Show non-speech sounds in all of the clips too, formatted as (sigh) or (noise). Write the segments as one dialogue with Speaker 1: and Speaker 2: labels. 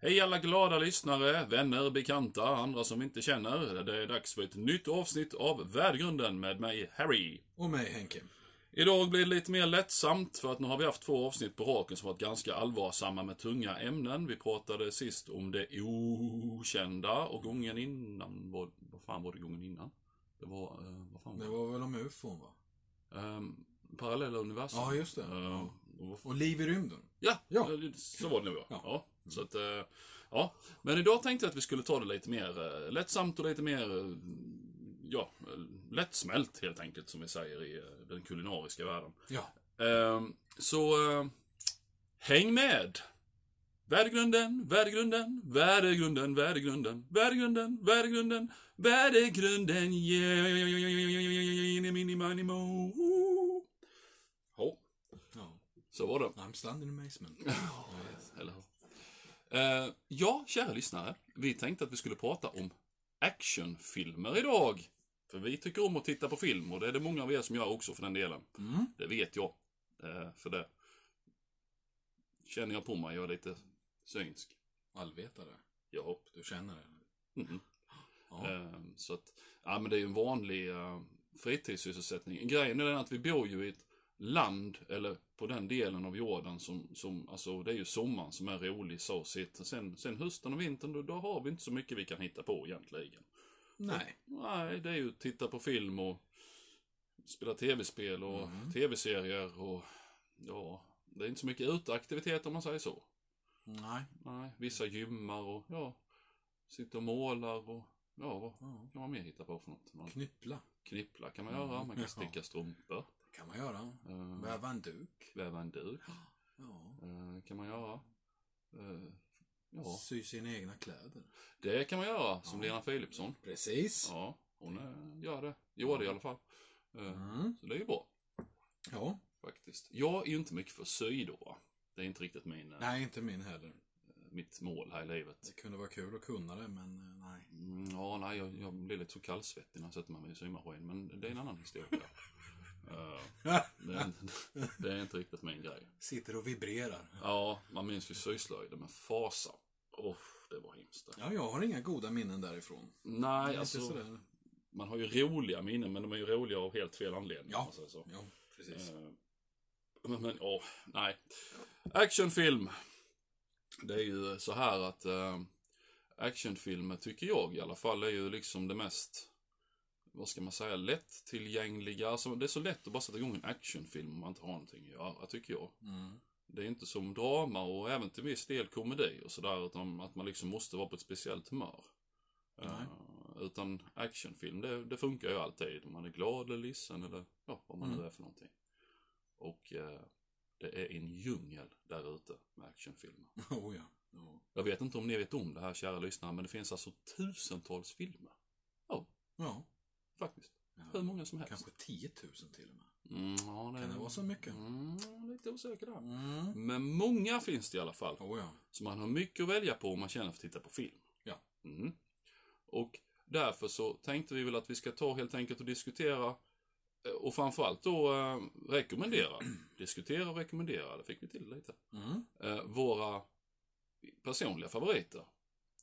Speaker 1: Hej alla glada lyssnare, vänner, bekanta, andra som inte känner. Det är dags för ett nytt avsnitt av Värdgrunden med mig, Harry.
Speaker 2: Och mig Henke.
Speaker 1: Idag blir det lite mer lättsamt för att nu har vi haft två avsnitt på raken som varit ganska allvarsamma med tunga ämnen. Vi pratade sist om det okända och gången innan, vad, vad fan var det gången innan? Det var, eh, vad fan var
Speaker 2: Det
Speaker 1: det?
Speaker 2: var väl om ufon va?
Speaker 1: Ehm, parallella universum.
Speaker 2: Ja, just det.
Speaker 1: Ehm, och vad
Speaker 2: Och liv i rymden.
Speaker 1: Ja,
Speaker 2: Ja.
Speaker 1: så var det nog ja.
Speaker 2: Ja.
Speaker 1: ja. Så att, eh, ja. Men idag tänkte jag att vi skulle ta det lite mer eh, lättsamt och lite mer, eh, ja, eh, lättsmält helt enkelt som vi säger i eh, den kulinariska världen.
Speaker 2: Ja.
Speaker 1: Ehm, så, eh, häng med! Värdegrunden, värdegrunden, värdegrunden, värdegrunden, värdegrunden, värdegrunden, värdegrunden, yeah, miniminimo. Ja,
Speaker 2: ja.
Speaker 1: så var det.
Speaker 2: I'm standing in amazement.
Speaker 1: Eller hur? Eh, ja, kära lyssnare. Vi tänkte att vi skulle prata om actionfilmer idag. För vi tycker om att titta på film och det är det många av er som gör också för den delen.
Speaker 2: Mm.
Speaker 1: Det vet jag. Eh, för det känner jag på mig. Jag är lite synsk.
Speaker 2: Allvetare.
Speaker 1: Ja.
Speaker 2: Du känner det.
Speaker 1: Mm.
Speaker 2: Ja.
Speaker 1: Eh, så att, ja men det är ju en vanlig eh, fritidssysselsättning. Grejen är den att vi bor ju i ett land, eller på den delen av jorden som, som alltså det är ju sommaren som är rolig så sitt. Sen, sen hösten och vintern, då, då har vi inte så mycket vi kan hitta på egentligen.
Speaker 2: Nej.
Speaker 1: Nej, det är ju att titta på film och spela tv-spel och tv-serier och ja, det är inte så mycket uteaktivitet om man säger så.
Speaker 2: Nej.
Speaker 1: Nej, vissa gymmar och ja, sitter och målar och ja, vad
Speaker 2: Ja.
Speaker 1: kan man mer hitta på för något? Man
Speaker 2: Knyppla.
Speaker 1: knippla kan man göra, man kan
Speaker 2: Ja.
Speaker 1: sticka strumpor,
Speaker 2: Det kan man göra.
Speaker 1: eh,
Speaker 2: Väva en duk.
Speaker 1: väva en duk,
Speaker 2: Ja.
Speaker 1: eh, kan man göra. Eh, ja,
Speaker 2: Sy sina egna kläder.
Speaker 1: det kan man göra, som
Speaker 2: Ja.
Speaker 1: Lena Philipsson.
Speaker 2: Precis.
Speaker 1: Ja, hon eh, gör det. Gjorde det i alla fall. Eh,
Speaker 2: Mm.
Speaker 1: så det är ju bra,
Speaker 2: Ja.
Speaker 1: faktiskt. Jag är ju inte mycket för sy då. va. Det är inte riktigt min, eh,
Speaker 2: Nej, inte min heller.
Speaker 1: mitt mål här i livet.
Speaker 2: Det kunde vara kul att kunna det, men eh, nej.
Speaker 1: Mm, ja, nej, jag, jag blir lite så kallsvettig när jag sätter mig vid en symaskin, men det är en annan historia.
Speaker 2: (laughs)
Speaker 1: Eh, det, är, det är inte riktigt min grej.
Speaker 2: Sitter och vibrerar.
Speaker 1: Ja, man minns ju syslöjden med fasa. Oh, det var hemskt.
Speaker 2: Ja, jag har inga goda minnen därifrån. Det
Speaker 1: Nej,
Speaker 2: är
Speaker 1: alltså,
Speaker 2: Inte sådär.
Speaker 1: man har ju roliga minnen, men de är ju roliga av helt fel anledning.
Speaker 2: Ja.
Speaker 1: om man säger så.
Speaker 2: Ja, precis.
Speaker 1: Eh, Men, men åh, nej. Actionfilm. Det är ju så här att eh, actionfilmer tycker jag i alla fall är ju liksom det mest, vad ska man säga, lättillgängliga. Alltså, det är så lätt att bara sätta igång en actionfilm om man inte har någonting att göra, tycker jag.
Speaker 2: Mm. (laughs)
Speaker 1: Det är inte som drama och även till viss del komedi och sådär, utan att man liksom måste vara på ett speciellt humör.
Speaker 2: Nej.
Speaker 1: Eh, utan actionfilm, det, det funkar ju alltid. Om man är glad eller ledsen eller ja, vad man
Speaker 2: Mm.
Speaker 1: nu är för någonting. Och eh, det är en djungel där ute med actionfilmer.
Speaker 2: Oh, ja. ja.
Speaker 1: Jag vet inte om ni vet om det här, kära lyssnare, men det finns alltså tusentals filmer.
Speaker 2: Ja.
Speaker 1: Faktiskt. Hur
Speaker 2: ja.
Speaker 1: många som helst.
Speaker 2: Kanske 10 000 till och med.
Speaker 1: Mm, ja,
Speaker 2: Kan det vara så mycket?
Speaker 1: Mm, lite osäker där.
Speaker 2: Mm.
Speaker 1: Men många finns det i alla fall.
Speaker 2: Oh, ja.
Speaker 1: Så man har mycket att välja på om man känner för att titta på film.
Speaker 2: Ja.
Speaker 1: Mm. Och därför så tänkte vi väl att vi ska ta helt enkelt och diskutera eh, och framförallt då eh, rekommendera. (clears throat) diskutera och rekommendera, det fick vi till lite.
Speaker 2: Mm.
Speaker 1: Eh, våra personliga favoriter.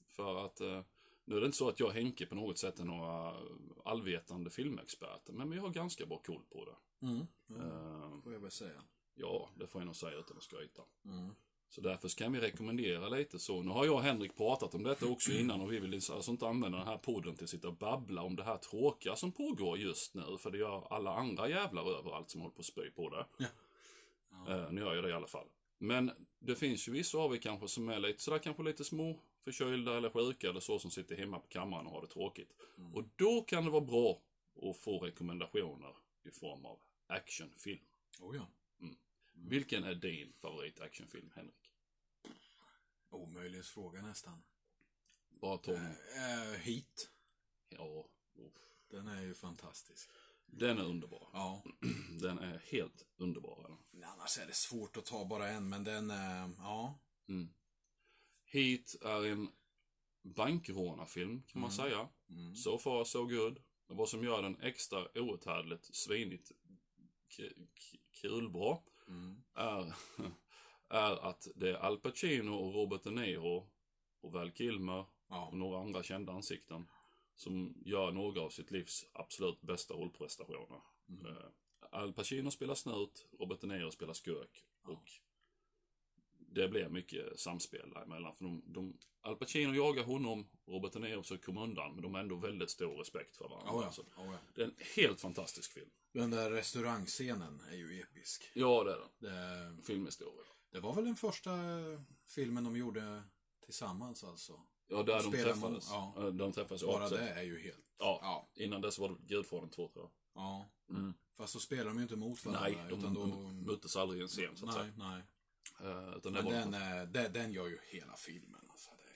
Speaker 1: För att eh, nu är det inte så att jag och Henke på något sätt är några allvetande filmexperter, men vi har ganska bra koll på det.
Speaker 2: Mm. Mm.
Speaker 1: Eh,
Speaker 2: Får jag väl säga.
Speaker 1: ja, det får jag nog säga utan att skryta.
Speaker 2: Mm.
Speaker 1: Så därför kan vi rekommendera lite så. Nu har jag och Henrik pratat om detta
Speaker 2: (clears throat)
Speaker 1: också innan och vi vill alltså inte använda den här podden till att sitta och babbla om det här tråkiga som pågår just nu. För det gör alla andra jävlar överallt som håller på att spy på det.
Speaker 2: Ja.
Speaker 1: Eh, nu gör jag det i alla fall. Men det finns ju vissa av er kanske som är lite sådär kanske lite små förkylda eller sjuka eller så som sitter hemma på kammaren och har det tråkigt.
Speaker 2: Mm.
Speaker 1: Och då kan det vara bra att få rekommendationer i form av actionfilm.
Speaker 2: Oh, ja. Mm.
Speaker 1: Vilken är din favorit actionfilm, Henrik?
Speaker 2: Omöjlighetsfråga nästan.
Speaker 1: Bara ta någon.
Speaker 2: Eh, hit.
Speaker 1: Ja,
Speaker 2: Den är ju fantastisk.
Speaker 1: den är underbar. (clears throat)
Speaker 2: Ja.
Speaker 1: Den är helt underbar. eller?
Speaker 2: Men Annars är det svårt att ta bara en, men den, eh, ja.
Speaker 1: Mm. Heat är en bankrånarfilm kan man
Speaker 2: Mm.
Speaker 1: säga.
Speaker 2: Mm.
Speaker 1: So far so good. Men Vad som gör den extra outhärdligt svinigt k- k- kulbra
Speaker 2: Mm.
Speaker 1: (laughs) är, är att det är Al Pacino och Robert De Niro och Val Kilmer
Speaker 2: Ja.
Speaker 1: och några andra kända ansikten som gör några av sitt livs absolut bästa rollprestationer. Eh, Al Pacino spelar snut, Robert De Niro spelar skurk och det blev mycket samspel däremellan. För de, de, Al Pacino jagar honom, Robert De Niro försöker komma undan, men de har ändå väldigt stor respekt för varandra.
Speaker 2: Ja,
Speaker 1: alltså.
Speaker 2: ja. ja, ja.
Speaker 1: Det är en helt fantastisk film.
Speaker 2: Den där restaurangscenen är ju episk.
Speaker 1: Ja, det är den.
Speaker 2: Det,
Speaker 1: Filmhistoria.
Speaker 2: det var väl den första eh, filmen de gjorde tillsammans alltså.
Speaker 1: Ja, där de
Speaker 2: Spelar man-
Speaker 1: träffades.
Speaker 2: ja.
Speaker 1: Eh, De träffades
Speaker 2: Bara
Speaker 1: också.
Speaker 2: det är ju helt...
Speaker 1: Ja.
Speaker 2: Ja.
Speaker 1: Innan dess var det Gudfadern 2 tror jag.
Speaker 2: ja.
Speaker 1: Mm.
Speaker 2: Fast så spelar de ju inte mot varandra.
Speaker 1: Nej, de
Speaker 2: utan då...
Speaker 1: möttes aldrig i en scen så att
Speaker 2: Nej,
Speaker 1: säga.
Speaker 2: nej.
Speaker 1: Eh, Utan det
Speaker 2: Men
Speaker 1: var
Speaker 2: den, eh, den, den gör ju hela filmen. Alltså, det är...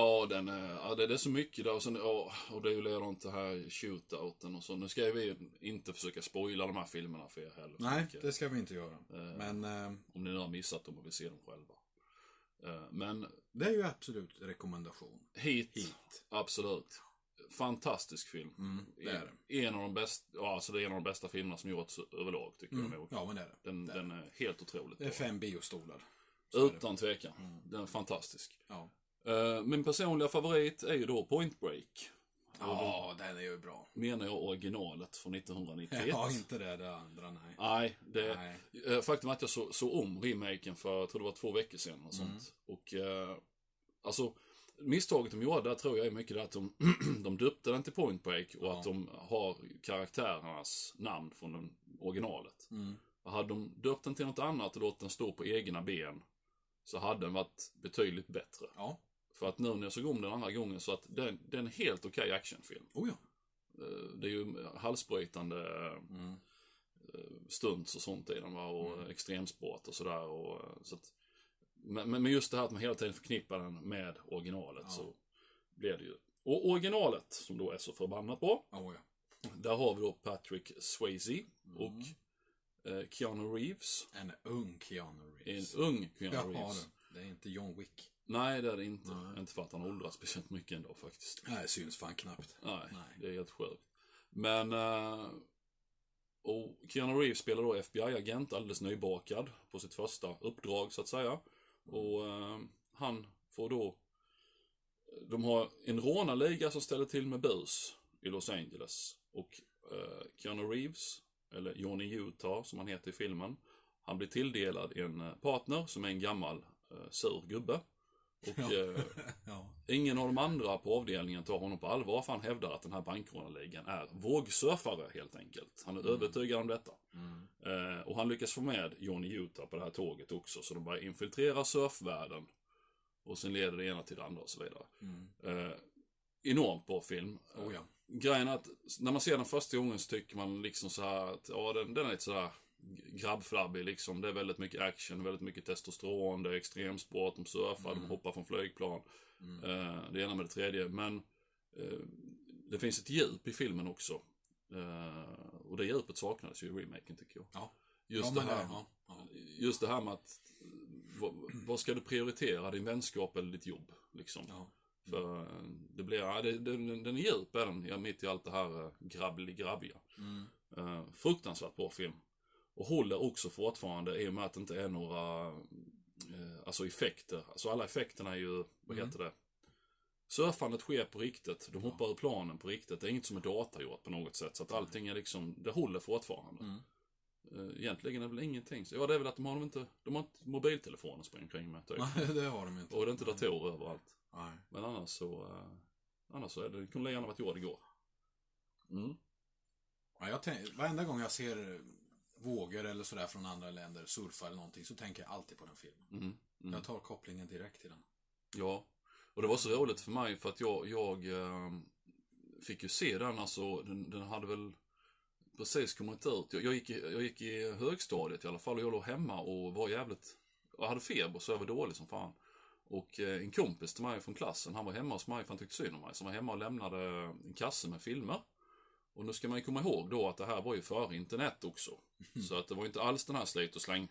Speaker 1: Ja, den är, ja, det det är så mycket där och sen, ja, och det är ju redan det här shootouten och så. Nu ska vi inte försöka spoila de här filmerna för er heller.
Speaker 2: Nej,
Speaker 1: Tänker jag.
Speaker 2: det ska vi inte göra. Men eh,
Speaker 1: Om ni nu har missat dem och vill se dem själva. Eh, Men
Speaker 2: det är ju absolut rekommendation.
Speaker 1: hit, absolut. Fantastisk film.
Speaker 2: Mm, det är
Speaker 1: en, en av de bästa, ja, alltså det är en av de bästa filmerna som gjorts överlag tycker jag nog.
Speaker 2: Ja, men Mm. det är det.
Speaker 1: Den, den är helt otroligt
Speaker 2: Det är
Speaker 1: bra.
Speaker 2: fem biostolar.
Speaker 1: Utan tvekan.
Speaker 2: Mm.
Speaker 1: Den är fantastisk.
Speaker 2: Ja,
Speaker 1: Eh, Min personliga favorit är ju då Point Break.
Speaker 2: ja den är ju bra.
Speaker 1: Menar jag originalet från 1991.
Speaker 2: (laughs) Ja, inte det, det andra, nej.
Speaker 1: Nej, det...
Speaker 2: Nej.
Speaker 1: eh, Faktum är att jag så, så om remaken för, jag tror det var två veckor sedan och sånt. Och, eh, alltså, misstaget de gjorde där tror jag är mycket det att de, (clears throat) de döpte den till Point Break och att de har karaktärernas namn från den originalet.
Speaker 2: Mm.
Speaker 1: Hade de döpt den till något annat och låtit den stå på egna ben så hade den varit betydligt bättre.
Speaker 2: Ja,
Speaker 1: För att nu när jag såg om den andra gången så att den, den är en helt okej actionfilm.
Speaker 2: oh ja.
Speaker 1: Eh, Det är ju halsbrytande mm. stunts och sånt i den va? och mm. extremsport och sådär. Och, eh, så att, men, men men just det här att man hela tiden förknippar den med originalet så blir det ju. Och originalet som då är så förbannat bra.
Speaker 2: Oh, ja.
Speaker 1: Där har vi då Patrick Swayze och eh, Keanu Reeves.
Speaker 2: Mm. En ung Keanu
Speaker 1: En
Speaker 2: Reeves.
Speaker 1: ung Keanu
Speaker 2: Ja,
Speaker 1: Reeves.
Speaker 2: det. det är inte John Wick.
Speaker 1: Nej, det är det inte. Inte för att han åldras speciellt mycket ändå faktiskt.
Speaker 2: Nej, syns fan knappt.
Speaker 1: Nej,
Speaker 2: Nej.
Speaker 1: det är helt sjukt. Men... eh, och Keanu Reeves spelar då FBI-agent, alldeles nybakad, på sitt första uppdrag så att säga. Och eh, han får då... De har en rånarliga som ställer till med bus i Los Angeles. Och eh, Keanu Reeves, eller Johnny Utah som han heter i filmen, han blir tilldelad en eh, partner som är en gammal eh, sur gubbe. Och eh,
Speaker 2: (laughs) Ja.
Speaker 1: Ingen av de andra på avdelningen tar honom på allvar för han hävdar att den här bankrånarligan är vågsurfare helt enkelt. Han är övertygad om detta. Eh, och han lyckas få med Johnny Utah på det här tåget också så de börjar infiltrera surfvärlden. Och sen leder det ena till det andra och så vidare. Eh, enormt bra film.
Speaker 2: Oh, ja.
Speaker 1: Grejen är att när man ser den första gången så tycker man liksom så här att ja, den, den är lite så här grabbflabbig liksom. Det är väldigt mycket action, väldigt mycket testosteron, det är extremsport, de surfar,
Speaker 2: Mm.
Speaker 1: de hoppar från flygplan. Eh, det ena med det tredje. Men eh, det finns ett djup i filmen också. Eh, och det djupet saknades ju i remaken tycker jag.
Speaker 2: Ja.
Speaker 1: Just,
Speaker 2: ja, men
Speaker 1: det, här,
Speaker 2: Ja, ja.
Speaker 1: just det här med att eh, vad, vad ska du prioritera, din vänskap eller ditt jobb? Liksom.
Speaker 2: Ja.
Speaker 1: För eh, det blir, ja, det, den, den är djup är den, ja, mitt i allt det här eh, grabbelig-grabbiga. Eh, fruktansvärt bra film. Och håller också fortfarande i och med att det inte är några eh, alltså effekter. Alltså alla effekterna är ju, vad
Speaker 2: Mm.
Speaker 1: heter det? Surfandet sker på riktigt, de hoppar ur planen på riktigt. Det är inget som är datagjort på något sätt. Så att allting är liksom, det håller fortfarande.
Speaker 2: Mm.
Speaker 1: Eh, Egentligen är det väl ingenting. Så, ja, det är väl att de har de inte, de har inte mobiltelefoner att springa omkring med. Typ.
Speaker 2: Nej, det har de inte.
Speaker 1: Och det är inte datorer överallt.
Speaker 2: Nej.
Speaker 1: Men annars så... Eh, annars så är det, det kunde lika gärna varit jag igår. Mm.
Speaker 2: Ja, jag tänk, varenda gång jag ser eh, vågor eller sådär från andra länder, surfa eller någonting, så tänker jag alltid på den filmen.
Speaker 1: Mm.
Speaker 2: Jag tar kopplingen direkt till den.
Speaker 1: Ja. Och det var så roligt för mig för att jag, jag eh, fick ju se den alltså, den, den hade väl precis kommit ut. Jag, jag, gick i, jag gick i högstadiet i alla fall och jag låg hemma och var jävligt... Jag hade feber så jag var dålig som fan. Och eh, en kompis till mig från klassen, han var hemma hos mig för han tyckte synd om mig, så han var hemma och lämnade en kasse med filmer. Och nu ska man ju komma ihåg då att det här var ju före internet också.
Speaker 2: Mm.
Speaker 1: Så att det var inte alls den här slit och släng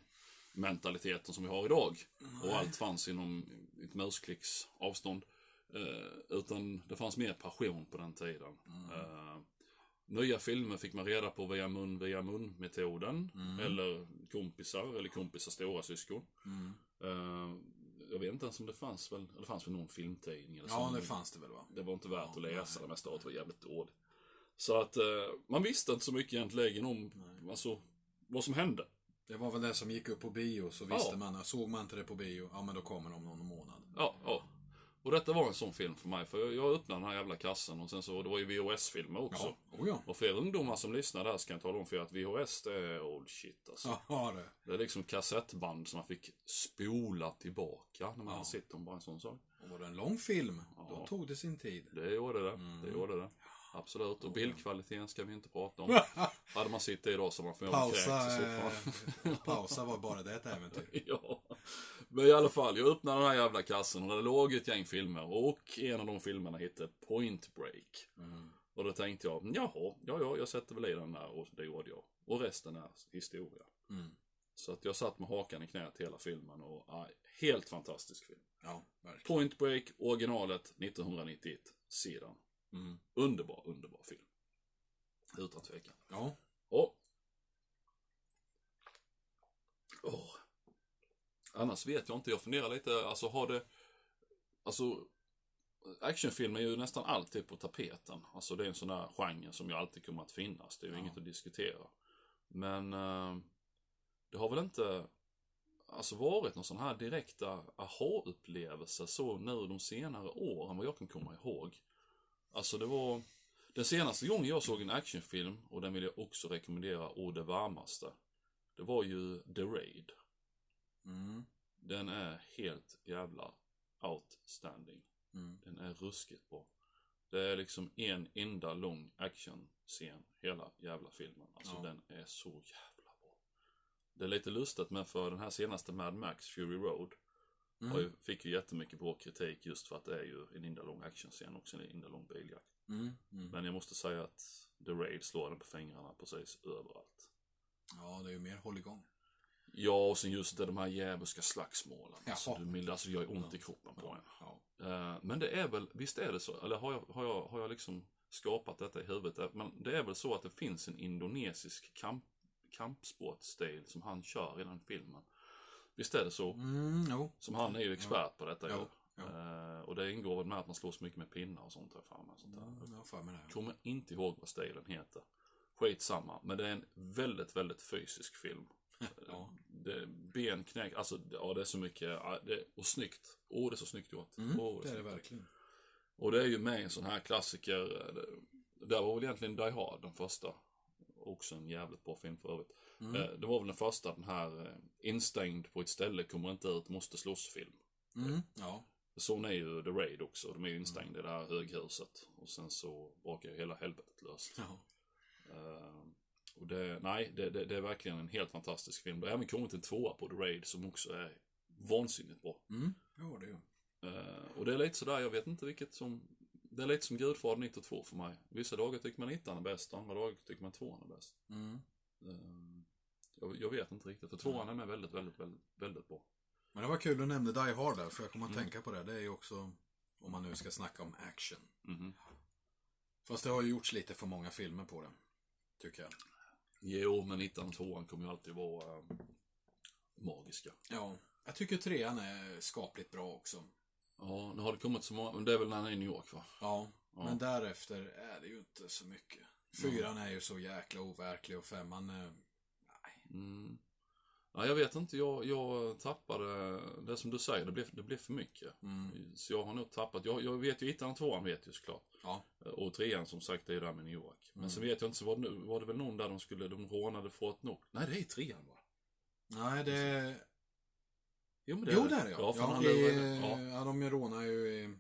Speaker 1: mentaliteten som vi har idag. Och allt fanns inom ett musklicks avstånd. Eh, utan det fanns mer passion på den tiden.
Speaker 2: Mm.
Speaker 1: Eh, nya filmer fick man reda på via mun via mun
Speaker 2: Mm. Mm.
Speaker 1: metoden. Eller kompisar eller kompisars stora syskon. Eh, jag vet inte ens om det fanns väl, det fanns väl någon filmtidning eller
Speaker 2: Ja,
Speaker 1: så.
Speaker 2: det fanns det väl va?
Speaker 1: Det var inte värt att
Speaker 2: Ja,
Speaker 1: läsa, det
Speaker 2: nej.
Speaker 1: mesta av det var jävligt dåligt. Så att eh, man visste inte så mycket egentligen om alltså, vad som hände.
Speaker 2: Det var väl det som gick upp på bio, så visste
Speaker 1: Ja.
Speaker 2: man. Såg man inte det på bio, ja men då kommer de någon månad.
Speaker 1: Ja, ja. Och detta var en sån film för mig, för jag- jag öppnade den här jävla kassen och sen så, det var ju VHS-filmer också.
Speaker 2: Ja, oh, ja.
Speaker 1: Och för er ungdomar som lyssnar där så kan jag tala om för er att VHS det är old shit alltså.
Speaker 2: Ja, det.
Speaker 1: Det är liksom kassettband som man fick spola tillbaka när man
Speaker 2: Ja.
Speaker 1: hade sett dem, bara en sån sak.
Speaker 2: Och var det en lång film,
Speaker 1: Ja.
Speaker 2: då tog det sin tid.
Speaker 1: Det gjorde det,
Speaker 2: Mm.
Speaker 1: det gjorde det. Absolut, och bildkvaliteten ska vi inte prata om. Hade man suttit idag så hade man förmodligen kräkts i
Speaker 2: (laughs) Pausa,
Speaker 1: soffan.
Speaker 2: eh, pausa var bara det ett äventyr.
Speaker 1: (laughs) Ja. Men i alla fall, jag öppnade den här jävla kassen och det låg ett gäng filmer och en av de filmerna hette Point Break.
Speaker 2: Mm.
Speaker 1: Och då tänkte jag, jaha, ja, ja, jag sätter väl i den där och det gjorde jag. Och resten är historia.
Speaker 2: Mm.
Speaker 1: Så att jag satt med hakan i knät hela filmen och ja, helt fantastisk film.
Speaker 2: Ja, verkligen.
Speaker 1: Point Break, originalet 1991, sedan.
Speaker 2: Mm.
Speaker 1: Underbar, underbar film. Utan tvekan.
Speaker 2: Ja,
Speaker 1: Ja. Åh. Annars vet jag inte, jag funderar lite, alltså har det... Alltså, actionfilm är ju nästan alltid på tapeten. Alltså det är en sån där genre som ju alltid kommer att finnas, det är ju
Speaker 2: Ja.
Speaker 1: inget att diskutera. Men eh, det har väl inte alltså varit någon sån här direkta aha-upplevelse så nu de senare åren vad jag kan komma ihåg. Alltså det var den senaste gången jag såg en actionfilm och den vill jag också rekommendera å det varmaste. Det var ju The Raid.
Speaker 2: mm.
Speaker 1: Den är helt jävla outstanding.
Speaker 2: Mm.
Speaker 1: Den är ruskigt bra. Det är liksom en enda lång actionscen hela jävla filmen. Alltså
Speaker 2: Ja.
Speaker 1: den är så jävla bra. Det är lite lustigt men för den här senaste Mad Max Fury Road
Speaker 2: Mm.
Speaker 1: har ju, fick ju jättemycket bra kritik just för att det är ju en enda lång actionscen och sen en enda lång biljakt.
Speaker 2: Mm. Mm.
Speaker 1: Men jag måste säga att The Raid slår den på fingrarna precis överallt.
Speaker 2: Ja, det är ju mer hålligång.
Speaker 1: Ja, och sen just det, de här djävulska slagsmålen. Alltså,
Speaker 2: Jaha.
Speaker 1: du milde, alltså jag är ont i kroppen på en.
Speaker 2: Ja.
Speaker 1: Eh, Men det är väl, visst är det så, eller har jag, har jag, har jag liksom skapat detta i huvudet? Eh, Men det är väl så att det finns en indonesisk kamp, kampsportstil som han kör i den filmen. Visst är det så?
Speaker 2: Mm, jo.
Speaker 1: Som han är ju expert på detta
Speaker 2: Ja,
Speaker 1: ju.
Speaker 2: ja.
Speaker 1: Eh, Och det ingår väl med att man slås mycket med pinnar och sånt där framme. Sånt där.
Speaker 2: Mm, jag har för mig det.
Speaker 1: Kommer inte ihåg vad stilen heter. Skitsamma, men det är en väldigt, väldigt fysisk film.
Speaker 2: (laughs) Ja.
Speaker 1: Det, ben knäck, alltså ja, det är så mycket, ja, det, och snyggt. Åh, det är så snyggt gjort.
Speaker 2: Mm,
Speaker 1: Åh,
Speaker 2: det är det
Speaker 1: snyggt.
Speaker 2: verkligen.
Speaker 1: Och det är ju med i en sån här klassiker. eh, det- Där var väl egentligen Die Hard den första. Också en jävligt bra film för övrigt.
Speaker 2: Mm,
Speaker 1: Eh, Det var väl den första, den här eh, instängd på ett ställe, kommer inte ut, måste slåss-film. eh.
Speaker 2: Mm. Ja.
Speaker 1: Sån är ju The Raid också, de är ju instängda
Speaker 2: Mm.
Speaker 1: i det här höghuset. Och sen så brakar ju hela helvetet löst.
Speaker 2: ja.
Speaker 1: Eh, och det, nej, det, det, det är verkligen en helt fantastisk film. Det har även kommit en tvåa på The Raid som också är vansinnigt bra.
Speaker 2: Mm. Jo, det är ju.
Speaker 1: Eh, och det är lite sådär, jag vet inte vilket som... Det är lite som Gudfadern 1 och 2 för mig. Vissa dagar tycker man ettan är bäst, andra dagar tycker man tvåan är bäst.
Speaker 2: Mm.
Speaker 1: Eh, jag, jag vet inte riktigt, för tvåan är med väldigt, väldigt, väldigt, väldigt bra.
Speaker 2: Men det var kul du nämnde Die Hard där, för jag kommer att
Speaker 1: Mm.
Speaker 2: tänka på det. Det är ju också, om man nu ska snacka om action.
Speaker 1: Mhm.
Speaker 2: Fast det har ju gjorts lite för många filmer på det. Tycker jag.
Speaker 1: Jo, men ettan och tvåan kommer ju alltid vara eh, magiska.
Speaker 2: Ja. Jag tycker trean är skapligt bra också.
Speaker 1: Ja, nu har det kommit så många, men det är väl när han är i New York va?
Speaker 2: Ja.
Speaker 1: Ja.
Speaker 2: Men därefter är det ju inte så mycket. Fyran är ju så jäkla overklig och femman... eh,
Speaker 1: Mm. Ja, jag vet inte, jag, jag tappade, det som du säger, det blev, det blev för mycket.
Speaker 2: Mm.
Speaker 1: Så jag har nog tappat, jag, jag vet ju ettan och tvåan vet ju såklart.
Speaker 2: Ja.
Speaker 1: Och trean som sagt det är ju där med New York.
Speaker 2: Mm.
Speaker 1: Men sen vet jag inte, så var det, nu- var det väl någon där de skulle, de rånade Fort Knox? Nej, det är i trean va?
Speaker 2: Nej, det...
Speaker 1: Jo, men
Speaker 2: Jo, det är det
Speaker 1: Ja,
Speaker 2: ja.
Speaker 1: för
Speaker 2: Ja,
Speaker 1: han
Speaker 2: i,
Speaker 1: lurade- ja,
Speaker 2: ja, de rånar ju i,